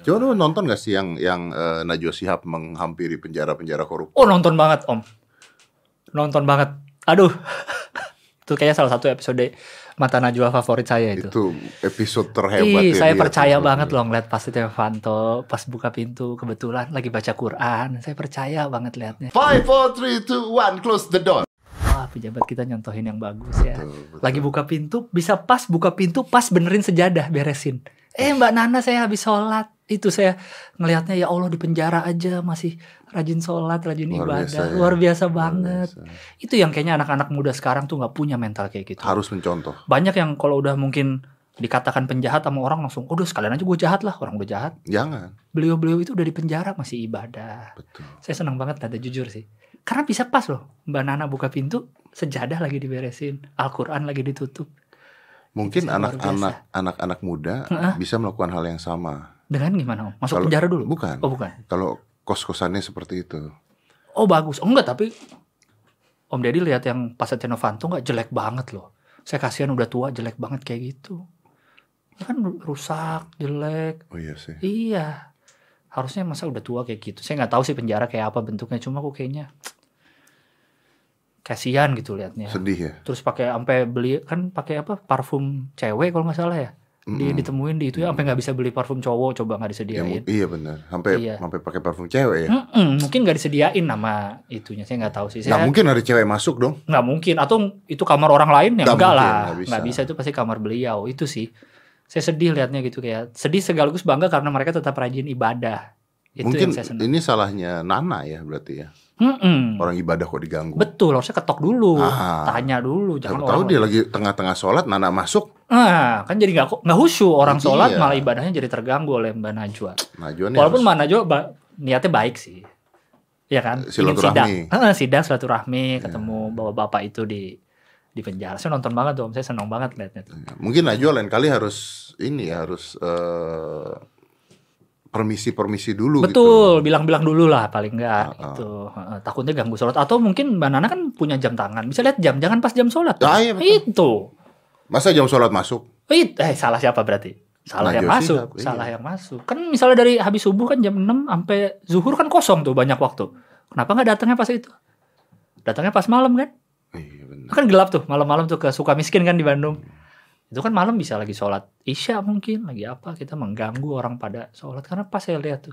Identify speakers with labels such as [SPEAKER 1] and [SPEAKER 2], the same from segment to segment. [SPEAKER 1] Coba lu nonton gak sih yang yang eh, Najwa Shihab menghampiri penjara-penjara koruptor?
[SPEAKER 2] Oh nonton banget om Nonton banget Aduh Itu kayaknya salah satu episode Mata Najwa favorit saya itu,
[SPEAKER 1] Itu episode terhebat. ya
[SPEAKER 2] Ih, saya
[SPEAKER 1] dia.
[SPEAKER 2] percaya banget loh ngeliat pas itu Fanto pas buka pintu kebetulan lagi baca Quran saya percaya banget liatnya
[SPEAKER 1] Five, four, three, two, one, close the door.
[SPEAKER 2] wah pejabat kita nyontohin yang bagus ya
[SPEAKER 1] Betul, betul.
[SPEAKER 2] lagi buka pintu bisa pas buka pintu pas benerin sejadah beresin eh mbak Nana saya habis sholat itu saya ngelihatnya ya Allah di penjara aja masih rajin sholat rajin
[SPEAKER 1] Luar
[SPEAKER 2] ibadah
[SPEAKER 1] biasa ya.
[SPEAKER 2] luar biasa
[SPEAKER 1] Luar
[SPEAKER 2] banget
[SPEAKER 1] biasa.
[SPEAKER 2] itu yang kayaknya anak-anak muda sekarang tuh nggak punya mental kayak gitu
[SPEAKER 1] Harus mencontoh.
[SPEAKER 2] banyak yang kalau udah mungkin dikatakan penjahat sama orang langsung udah sekalian aja gue jahat lah orang gue jahat
[SPEAKER 1] Jangan.
[SPEAKER 2] beliau-beliau itu udah di penjara masih ibadah
[SPEAKER 1] Betul.
[SPEAKER 2] saya senang banget ada jujur sih karena bisa pas loh mbak Nana buka pintu sejadah lagi diberesin Al-Quran lagi ditutup
[SPEAKER 1] Mungkin
[SPEAKER 2] Luar
[SPEAKER 1] anak-anak anak-anak muda
[SPEAKER 2] Heeh.
[SPEAKER 1] bisa melakukan hal yang sama.
[SPEAKER 2] dengan gimana om masuk
[SPEAKER 1] Kalau-
[SPEAKER 2] penjara dulu
[SPEAKER 1] Bukan.
[SPEAKER 2] oh bukan
[SPEAKER 1] Kalau kos-kosannya seperti itu.
[SPEAKER 2] oh bagus oh enggak tapi om Deddy lihat yang pas Setia Novanto nggak jelek banget loh saya kasihan udah tua jelek banget kayak gitu Dia kan rusak jelek
[SPEAKER 1] Oh iya sih.
[SPEAKER 2] Iya. Harusnya masa udah tua kayak gitu. Saya nggak tahu sih penjara kayak apa bentuknya. Cuma aku kayaknya kasihan gitu liatnya.
[SPEAKER 1] Sedih ya.
[SPEAKER 2] Terus pakai sampai beli kan pakai apa parfum cewek kalau nggak salah ya. Di,
[SPEAKER 1] Mm-mm.
[SPEAKER 2] ditemuin di itu ya sampai nggak bisa beli parfum cowok
[SPEAKER 1] Ya,
[SPEAKER 2] coba nggak
[SPEAKER 1] mu-
[SPEAKER 2] disediain.
[SPEAKER 1] iya benar. Sampai
[SPEAKER 2] Iya. Mm,
[SPEAKER 1] sampai pakai parfum cewek ya.
[SPEAKER 2] Mm-mm, mungkin nggak disediain nama itunya. Saya nggak tahu sih.
[SPEAKER 1] Nah
[SPEAKER 2] Saya
[SPEAKER 1] mungkin ada cewek masuk dong.
[SPEAKER 2] nggak mungkin atau itu kamar orang lain ya
[SPEAKER 1] Nggak
[SPEAKER 2] enggak
[SPEAKER 1] mungkin,
[SPEAKER 2] lah
[SPEAKER 1] nggak bisa.
[SPEAKER 2] nggak bisa. itu pasti kamar beliau itu sih saya sedih liatnya gitu kayak sedih sekaligus bangga karena mereka tetap rajin ibadah itu
[SPEAKER 1] mungkin
[SPEAKER 2] yang saya senang
[SPEAKER 1] ini salahnya Nana ya berarti ya.
[SPEAKER 2] Mm-mm.
[SPEAKER 1] Orang ibadah kok diganggu.
[SPEAKER 2] Hmm. betul harusnya ketok dulu
[SPEAKER 1] gitu. Ah.
[SPEAKER 2] tanya dulu
[SPEAKER 1] Siapa
[SPEAKER 2] jangan
[SPEAKER 1] tahu
[SPEAKER 2] orang
[SPEAKER 1] dia lagi tengah-tengah sholat Nana masuk.
[SPEAKER 2] ah kan jadi nggak ko- nggak khusyuk orang
[SPEAKER 1] Iya.
[SPEAKER 2] sholat malah ibadahnya jadi terganggu oleh mbak Najwa
[SPEAKER 1] Najuan
[SPEAKER 2] walaupun mbak Najwa ba- niatnya baik sih ya kan Ingin sidang
[SPEAKER 1] Silaturahmi. Iya.
[SPEAKER 2] Ah, sidang silaturahmi ketemu bapak-bapak itu di di penjara saya nonton banget tuh om saya senang banget liatnya tuh
[SPEAKER 1] Mungkin Najwa lain kali harus ini ya harus eh, permisi-permisi dulu gitu.
[SPEAKER 2] Betul, bilang-bilang dlu lah paling enggak
[SPEAKER 1] Ah, ah.
[SPEAKER 2] gitu. Heeh, Takutnya ganggu sholat atau mungkin Mbak Nana kan punya jam tangan. Bisa lihat jam, jangan pas jam sholat.
[SPEAKER 1] Ah, iya, betul.
[SPEAKER 2] Itu.
[SPEAKER 1] Masa jam sholat masuk?
[SPEAKER 2] It, eh salah siapa berarti? Salah
[SPEAKER 1] Najwa
[SPEAKER 2] yang masuk,
[SPEAKER 1] Shihab, iya.
[SPEAKER 2] salah yang masuk. Kan misalnya dari habis subuh kan jam 6 sampai zuhur kan kosong tuh banyak waktu. Kenapa nggak datangnya pas itu? Datangnya pas malam kan?
[SPEAKER 1] Iya benar.
[SPEAKER 2] Kan gelap tuh malam-malam tuh ke suka miskin kan di Bandung. Itu kan malam bisa lagi sholat isya mungkin lagi apa kita mengganggu orang pada sholat karena pas saya lihat tuh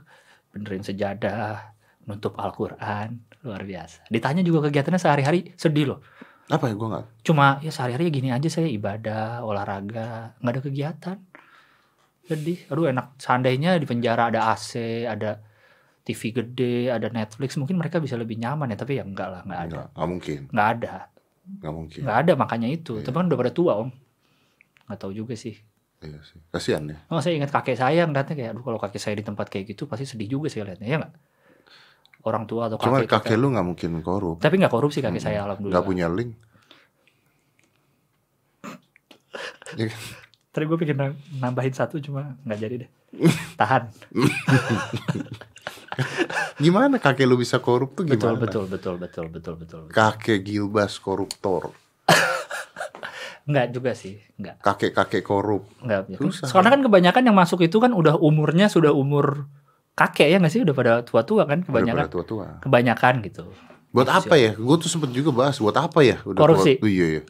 [SPEAKER 2] benerin sejadah, nutup Al-Quran luar biasa. Ditanya juga kegiatannya sehari-hari sedih loh.
[SPEAKER 1] Apa ya gua nggak?
[SPEAKER 2] Cuma ya sehari-hari ya gini aja saya ibadah, olahraga, nggak ada kegiatan. Sedih. Aduh enak. Seandainya di penjara ada AC, ada TV gede, ada Netflix, mungkin mereka bisa lebih nyaman ya. Tapi ya enggak lah, nggak ada.
[SPEAKER 1] Nggak, nggak mungkin,
[SPEAKER 2] Nggak ada.
[SPEAKER 1] nggak mungkin.
[SPEAKER 2] Nggak ada makanya itu.
[SPEAKER 1] Iya.
[SPEAKER 2] Tapi kan udah pada tua om. Nggak tahu juga sih.
[SPEAKER 1] Iya sih. Kasihan ya.
[SPEAKER 2] Oh, saya ingat kakek saya ngeliatnya kayak, aduh kalau kakek saya di tempat kayak gitu pasti sedih juga saya liatnya, ya nggak? Orang tua atau
[SPEAKER 1] Cuman
[SPEAKER 2] kakek.
[SPEAKER 1] kakek
[SPEAKER 2] kita.
[SPEAKER 1] lu nggak mungkin korup.
[SPEAKER 2] Tapi nggak korupsi kakek
[SPEAKER 1] Mm-mm.
[SPEAKER 2] saya alhamdulillah.
[SPEAKER 1] Nggak punya link. Ya kan?
[SPEAKER 2] Tadi gue pikir nam- nambahin satu cuma nggak jadi deh. Tahan.
[SPEAKER 1] gimana kakek lu bisa korup tuh gimana?
[SPEAKER 2] betul, betul, betul, betul, betul, betul.
[SPEAKER 1] Kakek Gilbas koruptor,
[SPEAKER 2] Nggak juga sih, nggak.
[SPEAKER 1] kakek-kakek korup.
[SPEAKER 2] Nggak.
[SPEAKER 1] Susah.
[SPEAKER 2] Soalnya kan kebanyakan yang masuk itu kan udah umurnya sudah umur kakek ya nggak sih? Udah pada tua-tua kan
[SPEAKER 1] Udah
[SPEAKER 2] kebanyakan.
[SPEAKER 1] pada tua-tua.
[SPEAKER 2] Kebanyakan gitu.
[SPEAKER 1] Buat apa ya? Gue tuh sempet juga bahas buat apa ya? Udah
[SPEAKER 2] Korupsi.
[SPEAKER 1] tua- Iya iya.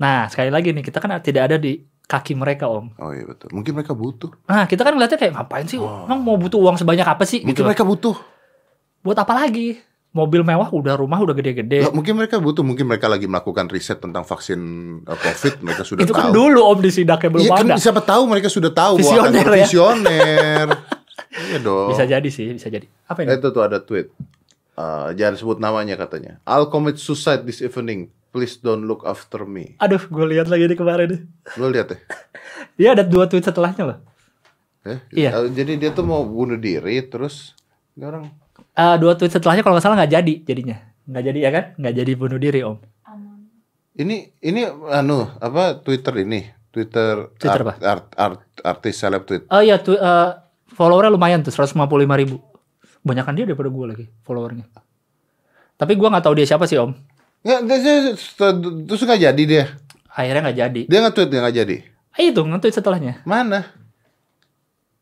[SPEAKER 2] Nah, sekali lagi nih, kita kan tidak ada di kaki mereka, Om.
[SPEAKER 1] Oh iya betul. Mungkin mereka butuh.
[SPEAKER 2] Nah, kita kan ngeliatnya kayak ngapain sih?
[SPEAKER 1] Oh.
[SPEAKER 2] Emang mau butuh uang sebanyak apa sih?
[SPEAKER 1] Mungkin
[SPEAKER 2] Gitu.
[SPEAKER 1] mereka butuh.
[SPEAKER 2] Buat apa lagi? Mobil mewah udah, rumah udah gede-gede.
[SPEAKER 1] Lah, mungkin mereka butuh. Mungkin mereka lagi melakukan riset tentang vaksin eh, COVID. Mereka sudah
[SPEAKER 2] Itu kan
[SPEAKER 1] tahu.
[SPEAKER 2] dulu Om di sidaknya belum
[SPEAKER 1] Iya kan
[SPEAKER 2] ada.
[SPEAKER 1] siapa tahu mereka sudah tahu bahwa akan
[SPEAKER 2] Visioner ya.
[SPEAKER 1] visioner. iya dong.
[SPEAKER 2] Bisa jadi sih, bisa jadi. Apa ini?
[SPEAKER 1] Itu tuh ada tweet. Eh, jangan sebut namanya katanya. I'll commit suicide this evening. Please don't look after me.
[SPEAKER 2] Aduh, gue lihat lagi nih kemarin.
[SPEAKER 1] Lo lihat ya.
[SPEAKER 2] Dia ada dua tweet setelahnya loh.
[SPEAKER 1] Eh,
[SPEAKER 2] Iya.
[SPEAKER 1] eh, Jadi dia tuh mau bunuh diri terus ini orang
[SPEAKER 2] Eh, dua tweet setelahnya kalau nggak salah nggak jadi jadinya. Nggak jadi ya kan? Nggak jadi bunuh diri, Om.
[SPEAKER 1] Ini ini anu apa Twitter ini Twitter
[SPEAKER 2] Twitter
[SPEAKER 1] art- art- art- artis seleb tweet
[SPEAKER 2] Oh iya, tu, eh, followernya lumayan tuh, 155 ribu. Banyakan dia daripada gue lagi, followernya. Tapi gue nggak tahu dia siapa sih, Om.
[SPEAKER 1] nggak dia- dia dia- terus nggak jadi dia
[SPEAKER 2] Akhirnya nggak jadi. Ah, iya
[SPEAKER 1] dia nggak tweet nggak jadi
[SPEAKER 2] Eh, itu nge-tweet setelahnya.
[SPEAKER 1] mana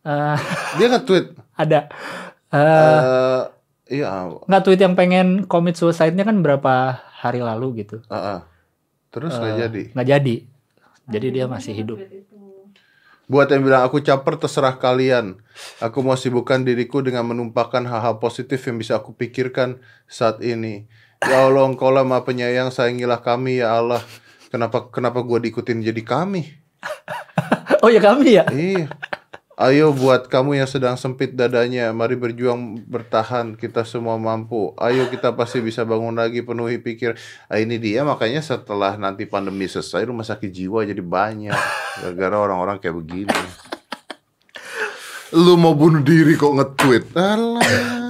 [SPEAKER 2] Eh,
[SPEAKER 1] Dia nge-tweet.
[SPEAKER 2] ada
[SPEAKER 1] eh
[SPEAKER 2] eh
[SPEAKER 1] iya,
[SPEAKER 2] nggak tweet yang pengen commit suicide-nya kan berapa hari lalu gitu
[SPEAKER 1] ah, ah. terus nggak
[SPEAKER 2] Eh,
[SPEAKER 1] jadi.
[SPEAKER 2] nggak jadi jadi dia masih hidup
[SPEAKER 1] Buat yang bilang aku caper terserah kalian. Aku mau sibukkan diriku dengan menumpahkan hal-hal positif yang bisa aku pikirkan saat ini. Ya Allah, engkau lah maha penyayang, sayangilah kami ya Allah. Kenapa kenapa gua diikutin jadi kami?
[SPEAKER 2] oh ya kami ya
[SPEAKER 1] Iya. Ayo buat kamu yang sedang sempit dadanya, mari berjuang bertahan, kita semua mampu. Ayo kita pasti bisa bangun lagi, penuhi pikir. Ah, ini dia makanya setelah nanti pandemi selesai rumah sakit jiwa jadi banyak gara-gara orang-orang kayak begini. Lu mau bunuh diri kok nge-tweet? Alah.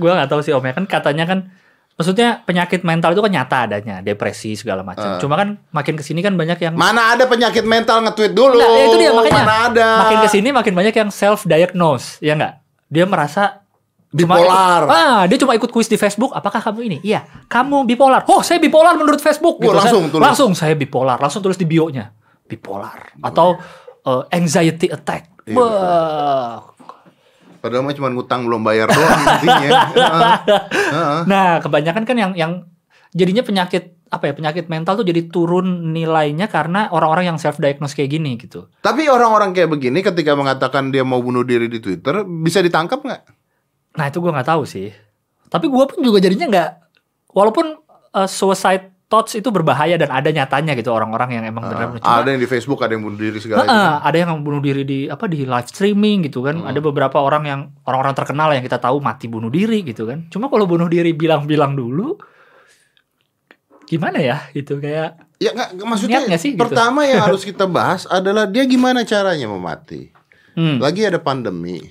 [SPEAKER 2] gua nggak tahu sih om ya kan katanya kan maksudnya penyakit mental itu kan nyata adanya depresi segala macam
[SPEAKER 1] Eh.
[SPEAKER 2] cuma kan makin kesini kan banyak yang
[SPEAKER 1] Mana ada penyakit mental nge-tweet dulu?
[SPEAKER 2] Nggak, ya itu dia, makanya.
[SPEAKER 1] Mana ada?
[SPEAKER 2] makin kesini makin banyak yang self diagnose ya nggak dia merasa cuma
[SPEAKER 1] Bipolar.
[SPEAKER 2] ikut- ah dia cuma ikut kuis di Facebook apakah kamu ini iya kamu bipolar oh saya bipolar menurut Facebook
[SPEAKER 1] Wah,
[SPEAKER 2] kan.
[SPEAKER 1] langsung tulis.
[SPEAKER 2] langsung saya bipolar langsung tulis di bionya bipolar atau eh, anxiety attack
[SPEAKER 1] Iya,
[SPEAKER 2] Wah.
[SPEAKER 1] Padahal mah cuma ngutang belum bayar doang intinya. Heeh. Heeh.
[SPEAKER 2] nah kebanyakan kan yang yang jadinya penyakit apa ya penyakit mental tuh jadi turun nilainya karena orang-orang yang self diagnose kayak gini gitu
[SPEAKER 1] Tapi orang-orang kayak begini ketika mengatakan dia mau bunuh diri di Twitter bisa ditangkap nggak?
[SPEAKER 2] Nah itu gua nggak tahu sih. Tapi gua pun juga jadinya nggak. Walaupun uh, suicide thoughts itu berbahaya dan ada nyatanya gitu orang-orang yang emang benar
[SPEAKER 1] Ah, ada yang di Facebook ada yang bunuh diri segala itu. Hmm.
[SPEAKER 2] ada yang bunuh diri di apa di live streaming gitu kan. Ada beberapa orang yang orang-orang terkenal yang kita tahu mati bunuh diri gitu kan. Cuma kalau bunuh diri bilang-bilang dulu, gimana ya gitu kayak
[SPEAKER 1] Ya nggak nggak, maksudnya
[SPEAKER 2] Niat nggak sih gitu?
[SPEAKER 1] pertama yang harus kita bahas adalah dia gimana caranya mau mati.
[SPEAKER 2] hmm.
[SPEAKER 1] Lagi ada pandemi.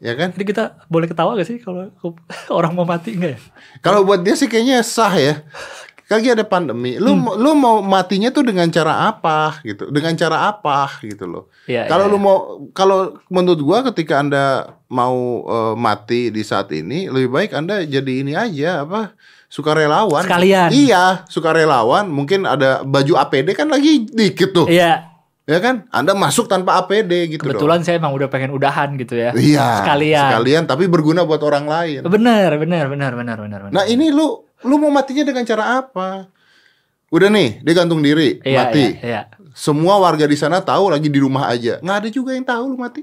[SPEAKER 1] Ya kan?
[SPEAKER 2] Jadi kita boleh ketawa gak sih kalau orang mau mati nggak ya?
[SPEAKER 1] Kalau buat dia sih kayaknya sah ya. Lagi ada pandemi. Lu
[SPEAKER 2] Hmm.
[SPEAKER 1] lu mau matinya tuh dengan cara apa gitu? Dengan cara apa gitu loh.
[SPEAKER 2] Iya,
[SPEAKER 1] kalau
[SPEAKER 2] iya,
[SPEAKER 1] lu
[SPEAKER 2] iya.
[SPEAKER 1] mau kalau menurut gua ketika Anda mau eh, mati di saat ini lebih baik Anda jadi ini aja apa? sukarelawan.
[SPEAKER 2] Sekalian.
[SPEAKER 1] Iya, sukarelawan. Mungkin ada baju APD kan lagi dikit tuh.
[SPEAKER 2] Iya,
[SPEAKER 1] Ya kan? Anda masuk tanpa APD gitu dong.
[SPEAKER 2] kebetulan saya emang udah pengen udahan gitu ya.
[SPEAKER 1] Iya.
[SPEAKER 2] Sekalian.
[SPEAKER 1] Sekalian tapi berguna buat orang lain.
[SPEAKER 2] Bener, bener, bener, bener, bener. bener.
[SPEAKER 1] Nah ini lu lu mau matinya dengan cara apa? Udah nih, dia gantung diri,
[SPEAKER 2] Iya,
[SPEAKER 1] mati.
[SPEAKER 2] Iya, iya.
[SPEAKER 1] Semua warga di sana tahu lagi di rumah aja. Nggak ada juga yang tahu lu mati,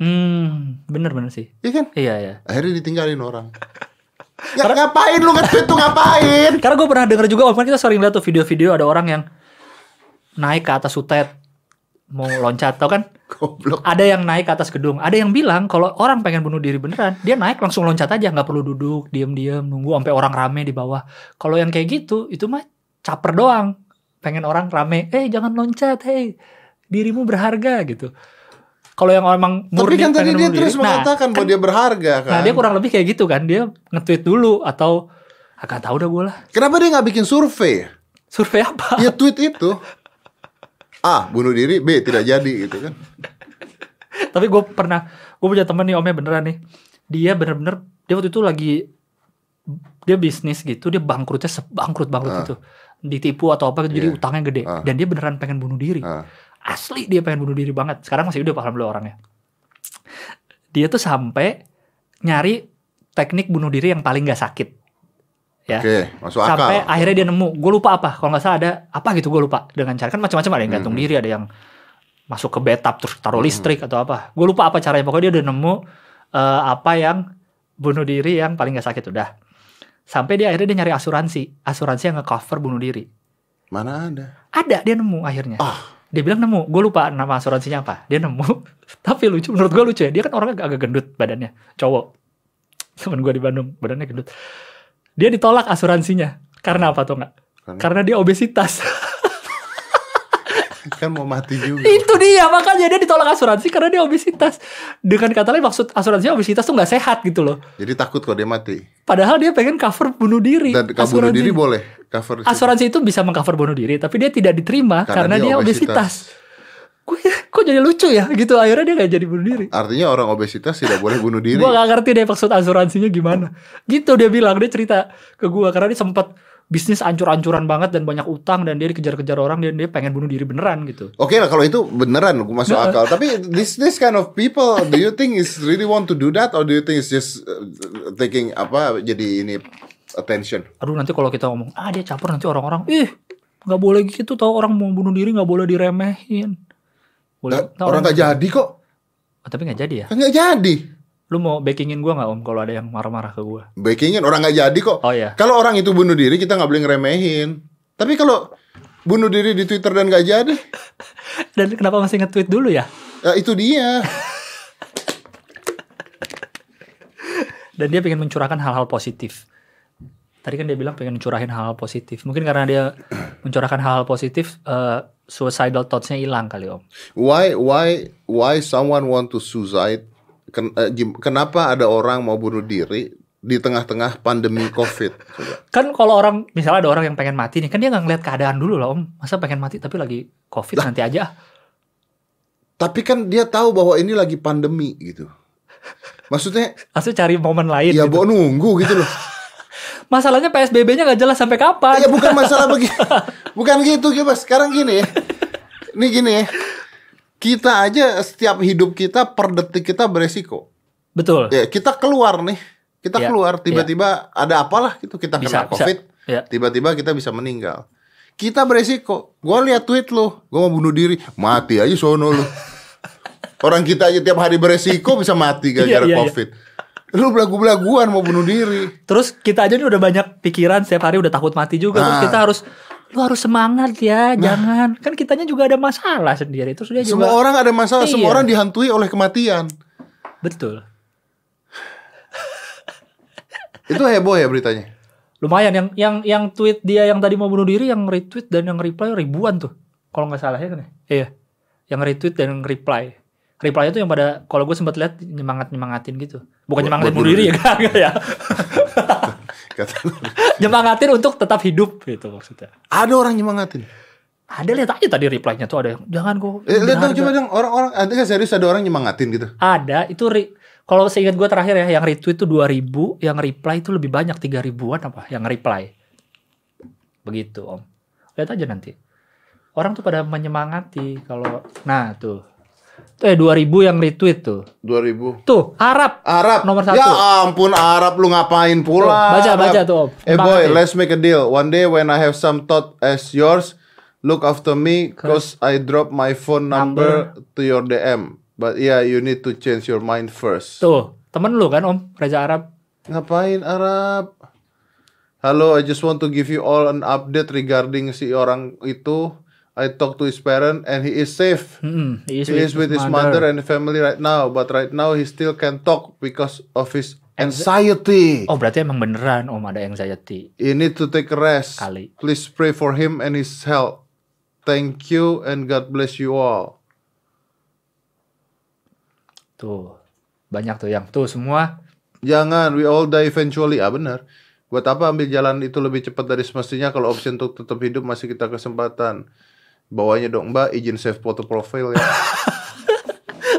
[SPEAKER 2] Hmm, bener-bener sih.
[SPEAKER 1] ya kan?
[SPEAKER 2] Iya, iya.
[SPEAKER 1] Akhirnya ditinggalin orang. Ya, ngapain lu nge-tweet tuh ngapain?
[SPEAKER 2] Karena gue pernah dengar juga, waktu kita sering lihat tuh video-video ada orang yang naik ke atas sutet mau loncat, tau kan?
[SPEAKER 1] Goblok.
[SPEAKER 2] Ada yang naik ke atas gedung, ada yang bilang kalau orang pengen bunuh diri beneran, dia naik langsung loncat aja, nggak perlu duduk, diam-diam, nunggu sampai orang rame di bawah. Kalau yang kayak gitu, itu mah caper doang. Pengen orang rame, eh jangan loncat, hei dirimu berharga gitu. Kalau yang emang
[SPEAKER 1] Tapi
[SPEAKER 2] murni
[SPEAKER 1] kan tadi
[SPEAKER 2] pengen
[SPEAKER 1] dia
[SPEAKER 2] bunuh
[SPEAKER 1] terus
[SPEAKER 2] diri, nah,
[SPEAKER 1] mengatakan bahwa dia berharga kan.
[SPEAKER 2] Nah dia kurang lebih kayak gitu kan Dia nge-tweet dulu Atau agak tahu dah gue lah
[SPEAKER 1] Kenapa dia nggak bikin survei?
[SPEAKER 2] Survei apa?
[SPEAKER 1] Ya tweet itu. A, bunuh diri, B, tidak jadi gitu kan.
[SPEAKER 2] Tapi gue pernah Gue punya temen nih omnya beneran nih Dia bener-bener Dia waktu itu lagi Dia bisnis gitu Dia bangkrutnya sebangkrut-bangkrut
[SPEAKER 1] Ah.
[SPEAKER 2] itu gitu. Ditipu atau apa gitu, Jadi
[SPEAKER 1] Iya.
[SPEAKER 2] utangnya gede
[SPEAKER 1] Ah.
[SPEAKER 2] Dan dia beneran pengen bunuh diri
[SPEAKER 1] Ah.
[SPEAKER 2] Asli dia pengen bunuh diri banget Sekarang masih udah paham dulu orangnya Dia tuh sampai Nyari teknik bunuh diri yang paling gak sakit Ya
[SPEAKER 1] Oke, masuk
[SPEAKER 2] sampai
[SPEAKER 1] akal.
[SPEAKER 2] akhirnya dia nemu gue lupa apa kalau nggak salah ada apa gitu gue lupa dengan cara kan macam-macam ada yang
[SPEAKER 1] Hmm.
[SPEAKER 2] gantung diri ada yang masuk ke bathtub terus taruh listrik atau apa gue lupa apa caranya pokoknya dia udah nemu eh, apa yang bunuh diri yang paling gak sakit udah sampai dia akhirnya dia nyari asuransi asuransi yang nge-cover bunuh diri
[SPEAKER 1] Mana ada?
[SPEAKER 2] ada dia nemu akhirnya
[SPEAKER 1] Ah,
[SPEAKER 2] dia bilang nemu gue lupa nama asuransinya apa dia nemu tapi lucu menurut gue lucu ya dia kan orangnya agak- agak gendut badannya cowok temen gue di Bandung badannya gendut dia ditolak asuransinya karena apa tuh nggak
[SPEAKER 1] Karena?
[SPEAKER 2] karena dia obesitas
[SPEAKER 1] kan mau mati juga.
[SPEAKER 2] itu dia makanya dia ditolak asuransi karena dia obesitas dengan kata lain maksud asuransinya obesitas tuh nggak sehat gitu loh
[SPEAKER 1] Jadi takut kalau dia mati.
[SPEAKER 2] padahal dia pengen cover bunuh diri
[SPEAKER 1] Dan kalau bunuh
[SPEAKER 2] Asuransi-
[SPEAKER 1] diri boleh cover.
[SPEAKER 2] asuransi itu bisa mengcover bunuh diri tapi dia tidak diterima
[SPEAKER 1] Karena
[SPEAKER 2] karena,
[SPEAKER 1] dia
[SPEAKER 2] dia obesitas, Gue kok jadi lucu ya gitu akhirnya dia nggak jadi bunuh diri
[SPEAKER 1] Artinya orang obesitas tidak boleh bunuh diri.
[SPEAKER 2] Gue gak ngerti deh maksud asuransinya gimana. Gitu dia bilang, dia cerita ke gue karena dia sempat bisnis ancur-ancuran banget dan banyak utang dan dia dikejar-kejar orang dan dia pengen bunuh diri beneran gitu.
[SPEAKER 1] Oke lah kalau itu beneran masuk akal. Tapi this this kind of people, do you think is really want to do that or do you think it's just uh, taking apa jadi ini attention?
[SPEAKER 2] Aduh nanti kalau kita ngomong ah dia caper nanti orang-orang ih nggak boleh gitu tau orang mau bunuh diri nggak boleh diremehin.
[SPEAKER 1] Nah,
[SPEAKER 2] ntar
[SPEAKER 1] orang nggak jadi kok,
[SPEAKER 2] Oh, tapi nggak jadi ya.
[SPEAKER 1] kan nggak jadi.
[SPEAKER 2] Lu mau backingin gua nggak om kalau ada yang marah-marah ke gua?
[SPEAKER 1] Backingin orang nggak jadi kok.
[SPEAKER 2] Oh ya.
[SPEAKER 1] Kalau orang itu bunuh diri kita nggak boleh ngeremehin. Tapi kalau bunuh diri di Twitter dan nggak jadi,
[SPEAKER 2] Dan kenapa masih nge-tweet dulu ya?
[SPEAKER 1] ya itu dia.
[SPEAKER 2] dan dia pengen mencurahkan hal-hal positif. Tadi kan dia bilang pengen mencurahin hal-hal positif. Mungkin karena dia mencurahkan hal-hal positif, eh, suicidal thoughts-nya hilang kali om.
[SPEAKER 1] Why why why someone want to suicide? Ken- eh, gim- Kenapa ada orang mau bunuh diri di tengah-tengah pandemi COVID? Coba.
[SPEAKER 2] Kan kalau orang, misalnya ada orang yang pengen mati nih, kan dia nggak ngeliat keadaan dulu lah om. Masa pengen mati tapi lagi covid nanti aja. ah.
[SPEAKER 1] Tapi kan dia tahu bahwa ini lagi pandemi gitu. Maksudnya
[SPEAKER 2] Langsung cari momen lain.
[SPEAKER 1] ya
[SPEAKER 2] gitu.
[SPEAKER 1] bawa nunggu gitu loh.
[SPEAKER 2] Masalahnya PSBB-nya nggak jelas sampai kapan.
[SPEAKER 1] Ya bukan masalah bagi bukan gitu Mas. Sekarang gini ya. Ini gini ya. Kita aja setiap hidup kita per detik kita beresiko.
[SPEAKER 2] Betul.
[SPEAKER 1] Ya, kita keluar nih. Kita
[SPEAKER 2] Ya,
[SPEAKER 1] keluar tiba-tiba ada apalah gitu kita
[SPEAKER 2] Bisa,
[SPEAKER 1] kena Covid.
[SPEAKER 2] bisa. Ya.
[SPEAKER 1] Tiba-tiba kita bisa meninggal. Kita beresiko. Gua lihat tweet lu, gua mau bunuh diri. Mati aja sono lu. Orang kita aja tiap hari beresiko bisa mati gara-gara
[SPEAKER 2] Iya, iya, iya.
[SPEAKER 1] Covid. Lu belagu-belaguan mau bunuh diri.
[SPEAKER 2] Terus kita aja nih udah banyak pikiran setiap hari udah takut mati juga. Terus
[SPEAKER 1] Nah.
[SPEAKER 2] kita harus lu harus semangat ya, jangan. Kan kitanya juga ada masalah sendiri. Terus dia
[SPEAKER 1] Semua
[SPEAKER 2] juga
[SPEAKER 1] orang ada masalah, semua
[SPEAKER 2] Iya.
[SPEAKER 1] orang dihantui oleh kematian.
[SPEAKER 2] betul.
[SPEAKER 1] Itu heboh ya beritanya.
[SPEAKER 2] Lumayan yang yang yang tweet dia yang tadi mau bunuh diri yang retweet dan yang reply ribuan tuh. Kalau nggak salah ya kan ya? Iya. Yang retweet dan yang reply. Reply itu yang pada kalau gue sempat lihat nyemangat nyemangatin gitu.
[SPEAKER 1] Buat-
[SPEAKER 2] Bukan nyemangatin
[SPEAKER 1] buat
[SPEAKER 2] bunuh
[SPEAKER 1] bunuh
[SPEAKER 2] diri ya kan ya.
[SPEAKER 1] Kata lu.
[SPEAKER 2] nyemangatin untuk tetap hidup gitu maksudnya.
[SPEAKER 1] ada orang nyemangatin.
[SPEAKER 2] Ada lihat aja tadi reply-nya tuh ada yang jangan kok.
[SPEAKER 1] Eh, lihat dong
[SPEAKER 2] berharga."
[SPEAKER 1] coba dong orang-orang ada nggak serius ada orang nyemangatin gitu.
[SPEAKER 2] Ada, itu re- kalau seingat gue terakhir ya, yang retweet itu 2000, yang reply itu lebih banyak 3000-an apa yang reply. Begitu, Om. Lihat aja nanti. Orang tuh pada menyemangati kalau nah tuh. Tuh eh 2000 yang retweet tuh.
[SPEAKER 1] 2000.
[SPEAKER 2] Tuh, Arab.
[SPEAKER 1] Arab
[SPEAKER 2] Nomor
[SPEAKER 1] Ya
[SPEAKER 2] satu.
[SPEAKER 1] ampun Arab lu ngapain
[SPEAKER 2] Tuh,
[SPEAKER 1] pula?
[SPEAKER 2] baca baca
[SPEAKER 1] Arab?
[SPEAKER 2] tuh, Om.
[SPEAKER 1] Eh boy,
[SPEAKER 2] Semangat, ya.
[SPEAKER 1] let's make a deal. One day when I have some thought as yours, look after me cause I drop my phone number, to your DM. But yeah, you need to change your mind first.
[SPEAKER 2] Tuh, temen lu kan, Om, Raja Arab.
[SPEAKER 1] Ngapain Arab? Halo, I just want to give you all an update regarding si orang itu. I talked to his parent and he is safe.
[SPEAKER 2] Mm-mm, he is
[SPEAKER 1] He is with his mother and family right now, but right now he still can talk because of his anxiety.
[SPEAKER 2] Oh, berarti emang beneran, Om, ada anxiety.
[SPEAKER 1] You need to take a rest.
[SPEAKER 2] Kali.
[SPEAKER 1] Please pray for him and his health. Thank you and God bless you all.
[SPEAKER 2] Tuh. Banyak tuh yang tuh semua
[SPEAKER 1] Jangan, we all die eventually. Ah benar. Buat apa ambil jalan itu lebih cepat dari semestinya kalau opsi untuk tetap hidup masih kita kesempatan. Bawanya dong mbak, izin save foto profil ya.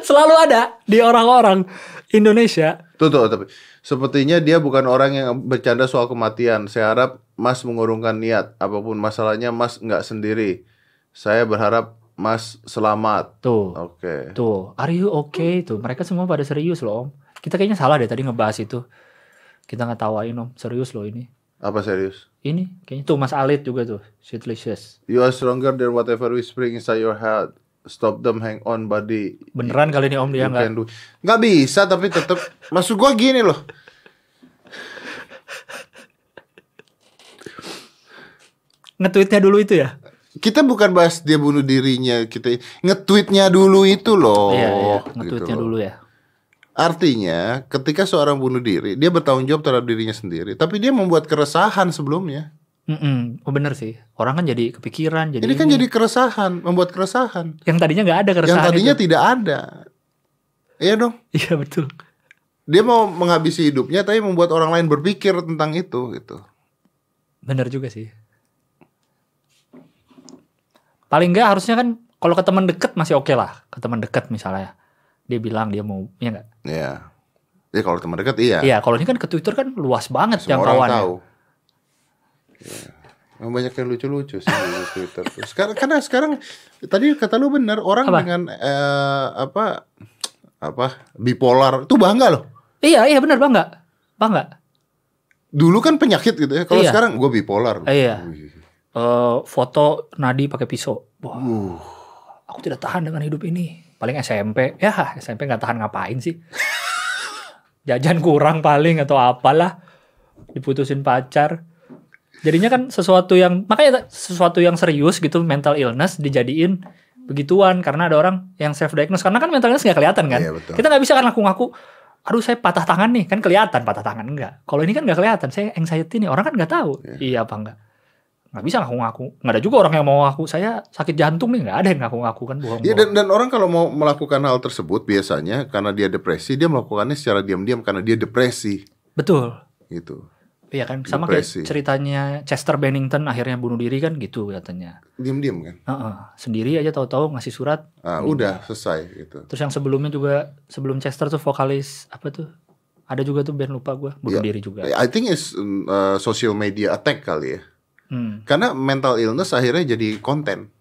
[SPEAKER 2] selalu ada di orang-orang Indonesia.
[SPEAKER 1] Tuh tuh tapi sepertinya dia bukan orang yang bercanda soal kematian. Saya harap Mas mengurungkan niat. Apapun masalahnya Mas nggak sendiri. Saya berharap Mas selamat.
[SPEAKER 2] Tuh,
[SPEAKER 1] Oke.
[SPEAKER 2] tuh, are you okay? Tuh, mereka semua pada serius loh om. Kita kayaknya salah deh tadi ngebahas itu. Kita nggak tawain om, serius loh ini.
[SPEAKER 1] Apa serius?
[SPEAKER 2] Ini kayaknya tuh Mas Alit juga tuh, shitlicious.
[SPEAKER 1] You are stronger than whatever whispering inside your head. Stop them, hang on, buddy.
[SPEAKER 2] Beneran kali ini om dia
[SPEAKER 1] You
[SPEAKER 2] nggak?
[SPEAKER 1] can do- Nggak bisa tapi tetap. Maksud gua gini loh.
[SPEAKER 2] Nge-tweetnya dulu itu ya?
[SPEAKER 1] Kita bukan bahas dia bunuh dirinya. Kita nge-tweetnya dulu itu loh.
[SPEAKER 2] iya, iya.
[SPEAKER 1] Gitu
[SPEAKER 2] nge-tweetnya
[SPEAKER 1] loh.
[SPEAKER 2] dulu ya.
[SPEAKER 1] Artinya, ketika seorang bunuh diri, dia bertanggung jawab terhadap dirinya sendiri, tapi dia membuat keresahan sebelumnya.
[SPEAKER 2] Mm-mm. Oh bener sih, orang kan jadi kepikiran, jadi.
[SPEAKER 1] Ini kan
[SPEAKER 2] ini.
[SPEAKER 1] jadi keresahan, membuat keresahan,
[SPEAKER 2] Yang tadinya nggak ada
[SPEAKER 1] yang
[SPEAKER 2] keresahan
[SPEAKER 1] tadinya
[SPEAKER 2] itu.
[SPEAKER 1] tidak ada. Iya dong.
[SPEAKER 2] Iya betul.
[SPEAKER 1] Dia mau menghabisi hidupnya tapi membuat orang lain berpikir tentang itu gitu.
[SPEAKER 2] Bener juga sih. Paling nggak harusnya kan kalau ke teman deket masih oke lah, ke teman deket misalnya. Dia bilang dia mau, ya nggak?
[SPEAKER 1] Iya. Ya kalau teman dekat iya.
[SPEAKER 2] Iya, kalau ini kan ke Twitter kan luas banget
[SPEAKER 1] Semua
[SPEAKER 2] yang
[SPEAKER 1] orang
[SPEAKER 2] jangkauannya.
[SPEAKER 1] tahu. Emang banyak yang lucu-lucu sih di Twitter. tuh. Sekarang karena sekarang tadi kata lu bener orang
[SPEAKER 2] Apa?
[SPEAKER 1] dengan eh, apa apa bipolar itu bangga loh.
[SPEAKER 2] Iya, iya benar bangga. Bangga.
[SPEAKER 1] Dulu kan penyakit gitu ya. Kalau
[SPEAKER 2] Iya.
[SPEAKER 1] sekarang gue bipolar.
[SPEAKER 2] Iya.
[SPEAKER 1] Wih.
[SPEAKER 2] Eh, foto nadi pakai pisau. Wah,
[SPEAKER 1] Uh,
[SPEAKER 2] aku tidak tahan dengan hidup ini. Paling SMP. Ya, SMP nggak tahan ngapain sih. Jajan kurang paling atau apalah. Diputusin pacar. Jadinya kan sesuatu yang makanya sesuatu yang serius gitu mental illness dijadiin begituan karena ada orang yang self diagnose karena kan mental illness nggak kelihatan kan.
[SPEAKER 1] Iya, betul.
[SPEAKER 2] Kita nggak bisa kan ngaku-ngaku aduh saya patah tangan nih kan kelihatan patah tangan enggak kalau ini kan nggak kelihatan saya anxiety nih orang kan nggak tahu iya apa enggak nggak bisa ngaku-ngaku nggak ada juga orang yang mau ngaku saya sakit jantung nih nggak ada yang ngaku-ngaku kan bohong,
[SPEAKER 1] Iya dan, dan orang kalau mau melakukan hal tersebut biasanya karena dia depresi dia melakukannya secara diam-diam karena dia depresi
[SPEAKER 2] betul
[SPEAKER 1] gitu.
[SPEAKER 2] iya kan sama kayak
[SPEAKER 1] Depresi.
[SPEAKER 2] ceritanya Chester Bennington akhirnya bunuh diri kan gitu katanya
[SPEAKER 1] Diam-diam kan.
[SPEAKER 2] Heeh, sendiri aja tahu-tahu ngasih surat
[SPEAKER 1] Ah, udah selesai gitu.
[SPEAKER 2] terus yang sebelumnya juga sebelum Chester tuh vokalis apa tuh ada juga tuh band lupa gua bunuh
[SPEAKER 1] Iya.
[SPEAKER 2] diri juga
[SPEAKER 1] I think it's mm, uh, social media attack kali ya.
[SPEAKER 2] Hmm.
[SPEAKER 1] Karena mental illness akhirnya jadi konten.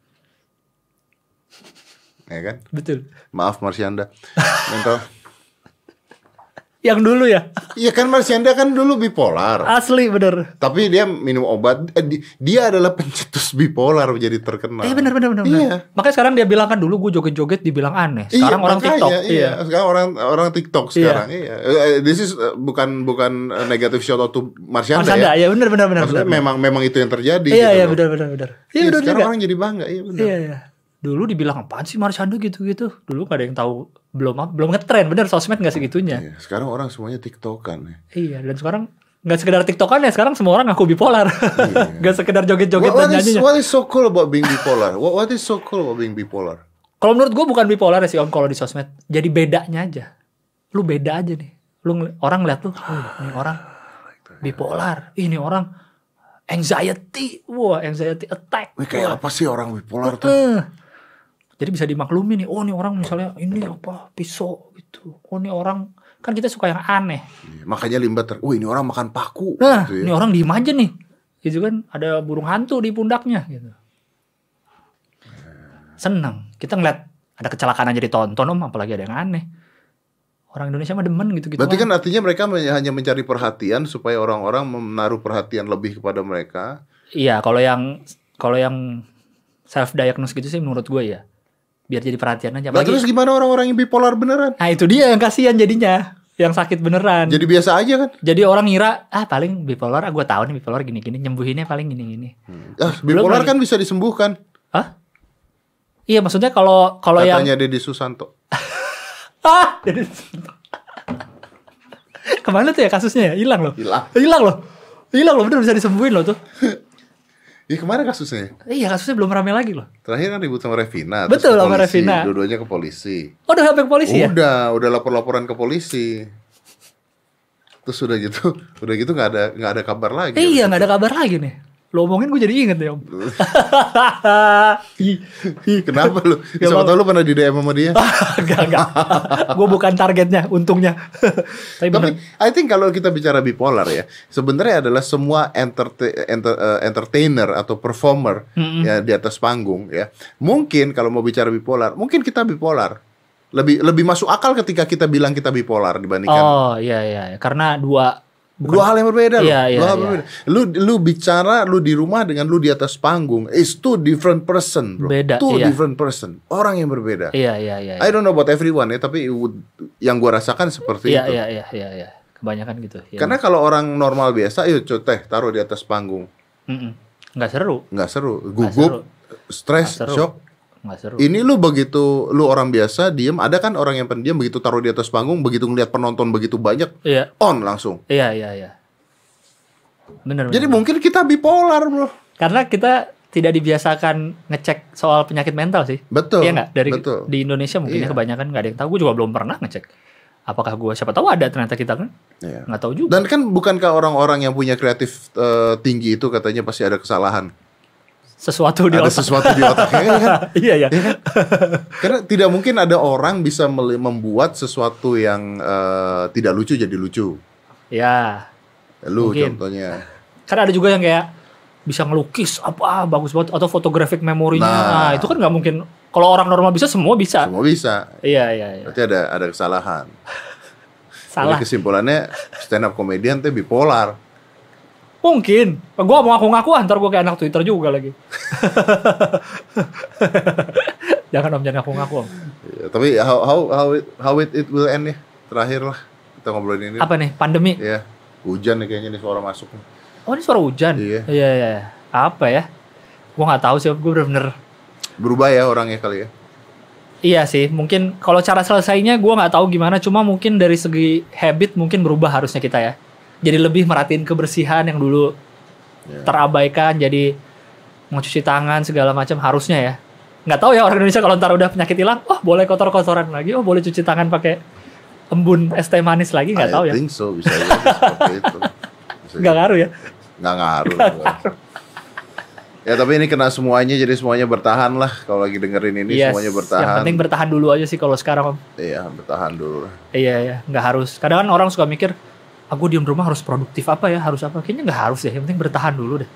[SPEAKER 1] Ya kan?
[SPEAKER 2] betul
[SPEAKER 1] Maaf Marsyanda. Mental.
[SPEAKER 2] yang dulu ya
[SPEAKER 1] Iya kan Marsyanda kan dulu bipolar.
[SPEAKER 2] asli bener
[SPEAKER 1] Tapi dia minum obat. Eh, di- dia adalah pencetus bipolar jadi terkenal.
[SPEAKER 2] Eh benar benar benar. benar.
[SPEAKER 1] Iya.
[SPEAKER 2] Makanya sekarang dia bilang kan dulu gue joget-joget dibilang aneh. Sekarang
[SPEAKER 1] Iya,
[SPEAKER 2] orang
[SPEAKER 1] makanya,
[SPEAKER 2] TikTok.
[SPEAKER 1] Iya. Sekarang orang orang TikTok sekarang. Iya. Eh, This is eh, bukan bukan eh, negative shot out to Marsyanda,
[SPEAKER 2] Mas Anda
[SPEAKER 1] ya.
[SPEAKER 2] ya benar benar benar.
[SPEAKER 1] Maksudnya
[SPEAKER 2] benar.
[SPEAKER 1] memang memang itu yang terjadi.
[SPEAKER 2] Iya
[SPEAKER 1] gitu
[SPEAKER 2] iya
[SPEAKER 1] loh.
[SPEAKER 2] benar benar benar. Iya
[SPEAKER 1] Iya,
[SPEAKER 2] benar
[SPEAKER 1] sekarang
[SPEAKER 2] juga.
[SPEAKER 1] orang jadi bangga. Iya benar.
[SPEAKER 2] Iya iya. Dulu dibilang apaan sih Marsyanda gitu-gitu. Dulu gak ada yang tahu belum apa- belum ngetren bener sosmed gak segitunya.
[SPEAKER 1] Iya, Sekarang orang semuanya TikTokan ya.
[SPEAKER 2] Iya, dan sekarang nggak sekedar tiktokan ya sekarang semua orang ngaku bipolar.
[SPEAKER 1] Iya.
[SPEAKER 2] Nggak sekedar joget-joget dan
[SPEAKER 1] what, what is,
[SPEAKER 2] nyanyinya.
[SPEAKER 1] what is so cool about being bipolar? What, what is so cool about being bipolar?
[SPEAKER 2] Kalau menurut gue bukan bipolar ya sih om kalau di sosmed. Jadi bedanya aja. Lu beda aja nih. Lu ngeli- orang lihat lu, "Wih, ini orang bipolar. Ini orang anxiety. Wah, anxiety attack.
[SPEAKER 1] Wih, kayak apa sih orang bipolar tuh?
[SPEAKER 2] Eh. Jadi bisa dimaklumi nih. Oh, ini orang misalnya ini apa? Pisau gitu. Oh, ini orang kan kita suka yang aneh.
[SPEAKER 1] Iya, Makanya limbat ter, wah ini orang makan paku.
[SPEAKER 2] Nah,
[SPEAKER 1] gitu ya.
[SPEAKER 2] ini orang diem aja nih. Gitu kan ada burung hantu di pundaknya gitu. Senang. Kita ngeliat ada kecelakaan aja ditonton om apalagi ada yang aneh. Orang Indonesia mah demen gitu-gitu.
[SPEAKER 1] Berarti
[SPEAKER 2] Om.
[SPEAKER 1] kan artinya mereka men- hanya mencari perhatian supaya orang-orang menaruh perhatian lebih kepada mereka.
[SPEAKER 2] Iya, kalau yang kalau yang self diagnose gitu sih menurut gue ya. Biar jadi perhatian aja
[SPEAKER 1] Nah, terus
[SPEAKER 2] apalagi.
[SPEAKER 1] gimana orang-orang yang bipolar beneran?
[SPEAKER 2] Nah, itu dia yang kasihan jadinya. Yang sakit beneran.
[SPEAKER 1] Jadi biasa aja kan?
[SPEAKER 2] Jadi orang ngira ah paling bipolar ah gue tahu nih bipolar gini-gini nyembuhinnya paling gini-gini.
[SPEAKER 1] Ah, bipolar
[SPEAKER 2] Hmm. lagi.
[SPEAKER 1] kan bisa disembuhkan.
[SPEAKER 2] Hah? Iya maksudnya kalau kalau yang
[SPEAKER 1] Katanya Deddy Susanto.
[SPEAKER 2] ah Jadi- kemana tuh ya kasusnya ya hilang loh
[SPEAKER 1] Hilang.
[SPEAKER 2] hilang loh hilang loh bener bisa disembuhin loh tuh
[SPEAKER 1] Ya kemana kasusnya?
[SPEAKER 2] iya kasusnya belum rame lagi loh
[SPEAKER 1] Terakhir kan ribut sama Revina. terus ke
[SPEAKER 2] Betul, sama
[SPEAKER 1] polisi.
[SPEAKER 2] Revina.
[SPEAKER 1] Dua-duanya ke polisi.
[SPEAKER 2] oh udah sampai ke polisi ya
[SPEAKER 1] Udah, udah lapor-laporan ke polisi. Terus udah gitu, udah gitu nggak ada nggak ada kabar lagi.
[SPEAKER 2] eh, iya nggak ada kabar lagi nih lo omongin gue jadi inget ya om Ih, ih.
[SPEAKER 1] Kenapa lu?
[SPEAKER 2] Nggak Oh,
[SPEAKER 1] Siapa
[SPEAKER 2] apa-apa.
[SPEAKER 1] tahu lu pernah di DM sama dia.
[SPEAKER 2] enggak enggak gue bukan targetnya untungnya
[SPEAKER 1] Tapi
[SPEAKER 2] tapi iya, bener
[SPEAKER 1] I think kalau kita bicara bipolar ya, sebenarnya adalah semua enterte- enter- eh, entertainer atau performer ya di atas panggung ya. Mungkin kalau mau bicara bipolar, mungkin kita bipolar. Lebih lebih masuk akal ketika kita bilang kita bipolar dibandingkan
[SPEAKER 2] oh iya iya iya. karena dua
[SPEAKER 1] dua hal yang berbeda loh.
[SPEAKER 2] Iya, iya,
[SPEAKER 1] dua hal
[SPEAKER 2] iya.
[SPEAKER 1] berbeda. Lu lu bicara lu di rumah dengan lu di atas panggung is two different person, bro.
[SPEAKER 2] Beda,
[SPEAKER 1] two
[SPEAKER 2] iya.
[SPEAKER 1] different person. Orang yang berbeda.
[SPEAKER 2] iya iya iya
[SPEAKER 1] I don't know about everyone ya, tapi it would- yang gua rasakan seperti
[SPEAKER 2] iya
[SPEAKER 1] itu.
[SPEAKER 2] iya iya iya iya. kebanyakan gitu iya.
[SPEAKER 1] Karena kalau orang normal biasa, yuk co- teh taruh di atas panggung,
[SPEAKER 2] Mm-mm. nggak seru
[SPEAKER 1] nggak seru,
[SPEAKER 2] seru.
[SPEAKER 1] gugup, stres,
[SPEAKER 2] Nggak seru.
[SPEAKER 1] shock. Iya.
[SPEAKER 2] nggak seru
[SPEAKER 1] Ini lu begitu lu orang biasa diem, ada kan orang yang pendiam begitu taruh di atas panggung, begitu ngeliat penonton begitu banyak,
[SPEAKER 2] iya
[SPEAKER 1] on langsung.
[SPEAKER 2] Iya iya iya. Benar.
[SPEAKER 1] Jadi
[SPEAKER 2] benar.
[SPEAKER 1] mungkin kita bipolar bro.
[SPEAKER 2] karena kita tidak dibiasakan ngecek soal penyakit mental sih.
[SPEAKER 1] Betul.
[SPEAKER 2] Iya nggak dari
[SPEAKER 1] betul.
[SPEAKER 2] di Indonesia mungkin ya
[SPEAKER 1] Iya.
[SPEAKER 2] kebanyakan nggak ada yang tahu. Gue juga belum pernah ngecek. Apakah gue siapa tahu ada ternyata kita kan
[SPEAKER 1] Iya.
[SPEAKER 2] nggak tahu juga.
[SPEAKER 1] Dan kan bukankah orang-orang yang punya kreatif eh, tinggi itu katanya pasti ada kesalahan,
[SPEAKER 2] sesuatu di
[SPEAKER 1] ada
[SPEAKER 2] otak.
[SPEAKER 1] sesuatu di otaknya ya kan?
[SPEAKER 2] iya iya.
[SPEAKER 1] Karena tidak mungkin ada orang bisa meli- membuat sesuatu yang eh, tidak lucu jadi lucu.
[SPEAKER 2] Ya.
[SPEAKER 1] Lu
[SPEAKER 2] Mungkin.
[SPEAKER 1] contohnya.
[SPEAKER 2] Karena ada Kan juga yang kayak bisa ngelukis apa ah, bagus banget atau photographic memorinya
[SPEAKER 1] Nah.
[SPEAKER 2] nah, itu kan nggak mungkin kalau orang normal bisa semua bisa
[SPEAKER 1] Semua bisa.
[SPEAKER 2] iya iya iya
[SPEAKER 1] Berarti ada ada kesalahan.
[SPEAKER 2] salah
[SPEAKER 1] Jadi kesimpulannya stand up comedian teh bipolar.
[SPEAKER 2] mungkin gue mau ngaku ngaku antar gue kayak anak twitter juga lagi jangan om jangan ngaku ngaku om
[SPEAKER 1] Ya, tapi how how how it, how it, it will end ya. Terakhir lah kita ngobrolin ini.
[SPEAKER 2] apa nih pandemi
[SPEAKER 1] Ya. Hujan nih kayaknya nih suara masuk. nih.
[SPEAKER 2] oh ini suara hujan
[SPEAKER 1] Iya.
[SPEAKER 2] iya iya. apa ya gue nggak tahu sih gue bener-bener
[SPEAKER 1] Berubah ya orangnya kali ya.
[SPEAKER 2] Iya sih, mungkin kalau cara selesainya gue nggak tahu gimana, cuma mungkin dari segi habit mungkin berubah harusnya kita ya. Jadi lebih merhatiin kebersihan yang dulu
[SPEAKER 1] Ya.
[SPEAKER 2] terabaikan, jadi mencuci tangan segala macam harusnya ya. Nggak tahu ya orang Indonesia kalau ntar udah penyakit hilang, oh boleh kotor-kotoran lagi, oh boleh cuci tangan pakai embun es teh manis lagi, nggak
[SPEAKER 1] I
[SPEAKER 2] tahu ya.
[SPEAKER 1] think so bisa jadi seperti itu. Bisa
[SPEAKER 2] Nggak ngaruh ya.
[SPEAKER 1] jadi. Nggak ngaruh. Ya tapi ini kena semuanya jadi semuanya bertahan lah kalau lagi dengerin ini
[SPEAKER 2] Yes,
[SPEAKER 1] semuanya
[SPEAKER 2] Yang
[SPEAKER 1] bertahan.
[SPEAKER 2] penting bertahan dulu aja sih kalau sekarang. Om.
[SPEAKER 1] Iya bertahan dulu. lah.
[SPEAKER 2] Iya ya, nggak harus. Kadang kan orang suka mikir, aku diem rumah harus produktif apa ya, harus apa? Kayaknya nggak harus ya. Yang penting bertahan dulu deh.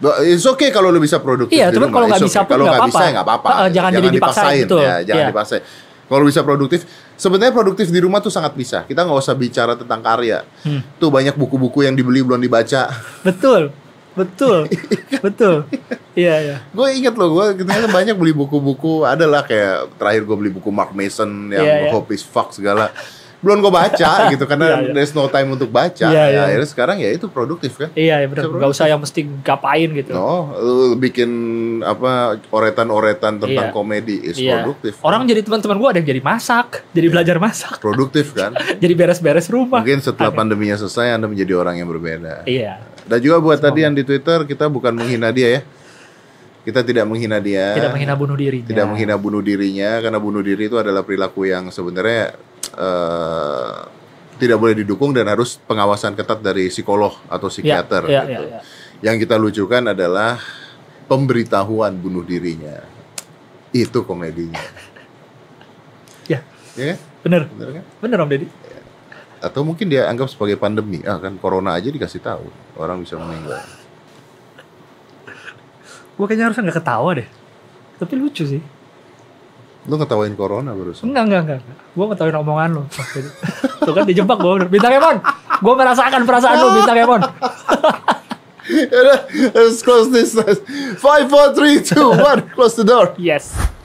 [SPEAKER 1] Ba- It's okay kalau lu bisa produktif.
[SPEAKER 2] Iya,
[SPEAKER 1] di
[SPEAKER 2] cuman
[SPEAKER 1] rumah,
[SPEAKER 2] kalau nggak
[SPEAKER 1] it's
[SPEAKER 2] bisa
[SPEAKER 1] okay.
[SPEAKER 2] pun
[SPEAKER 1] Kalau
[SPEAKER 2] nggak
[SPEAKER 1] nggak bisa
[SPEAKER 2] apa-apa.
[SPEAKER 1] ya nggak apa-apa.
[SPEAKER 2] Heeh, jangan jadi dipaksain, betul.
[SPEAKER 1] Ya, jangan
[SPEAKER 2] Iya.
[SPEAKER 1] dipaksain. Kalau bisa produktif, sebenarnya produktif di rumah tuh sangat bisa. Kita nggak usah bicara tentang karya.
[SPEAKER 2] Hmm.
[SPEAKER 1] Tuh banyak buku-buku yang dibeli belum dibaca.
[SPEAKER 2] Betul, betul, betul. Iya iya.
[SPEAKER 1] Gue inget loh, gue ternyata banyak beli buku-buku. Adalah kayak terakhir gue beli buku Mark Mason yang
[SPEAKER 2] Iya, iya.
[SPEAKER 1] Hope is Fuck segala. Belum gue baca gitu karena
[SPEAKER 2] Iya, iya.
[SPEAKER 1] there's no time untuk baca. Ya,
[SPEAKER 2] Iya, iya.
[SPEAKER 1] Akhirnya sekarang ya itu produktif kan.
[SPEAKER 2] Iya iya benar.
[SPEAKER 1] Bisa
[SPEAKER 2] Gak usah yang mesti gapain gitu.
[SPEAKER 1] No, lu bikin apa oretan-oretan tentang
[SPEAKER 2] Iya.
[SPEAKER 1] komedi is
[SPEAKER 2] Iya.
[SPEAKER 1] produktif.
[SPEAKER 2] Orang jadi teman-teman gue ada yang jadi masak, jadi
[SPEAKER 1] Iya.
[SPEAKER 2] belajar masak,
[SPEAKER 1] produktif kan.
[SPEAKER 2] jadi beres-beres rumah.
[SPEAKER 1] Mungkin setelah
[SPEAKER 2] Ada.
[SPEAKER 1] pandeminya selesai Anda menjadi orang yang berbeda.
[SPEAKER 2] Iya.
[SPEAKER 1] Dan juga buat
[SPEAKER 2] Semoga.
[SPEAKER 1] tadi yang di Twitter kita bukan menghina dia ya. Kita tidak menghina dia.
[SPEAKER 2] Tidak menghina bunuh dirinya. Iya,
[SPEAKER 1] Tidak menghina bunuh dirinya karena bunuh diri itu adalah perilaku yang sebenarnya eh, tidak boleh didukung dan harus pengawasan ketat dari psikolog atau
[SPEAKER 2] Iya,
[SPEAKER 1] psikiater
[SPEAKER 2] Iya iya
[SPEAKER 1] gitu.
[SPEAKER 2] iya.
[SPEAKER 1] Yang kita lucukan adalah pemberitahuan bunuh dirinya. Itu komedinya.
[SPEAKER 2] Ya.
[SPEAKER 1] Ya kan?
[SPEAKER 2] Bener
[SPEAKER 1] Bener kan?
[SPEAKER 2] bener om Deddy.
[SPEAKER 1] atau mungkin dia anggap sebagai pandemi ah kan corona aja dikasih tahu orang bisa meninggal
[SPEAKER 2] Gue kayaknya harusnya nggak ketawa deh. Tapi lucu sih.
[SPEAKER 1] lu ngetawain corona barusan
[SPEAKER 2] Enggak enggak enggak. Gue ngetawain omongan lo. waktu itu. Tuh kan dijebak gue bener. Bintang Emon. Gue merasakan perasaan lo bintang Emon.
[SPEAKER 1] let's close this five four three two one close the door
[SPEAKER 2] Yes.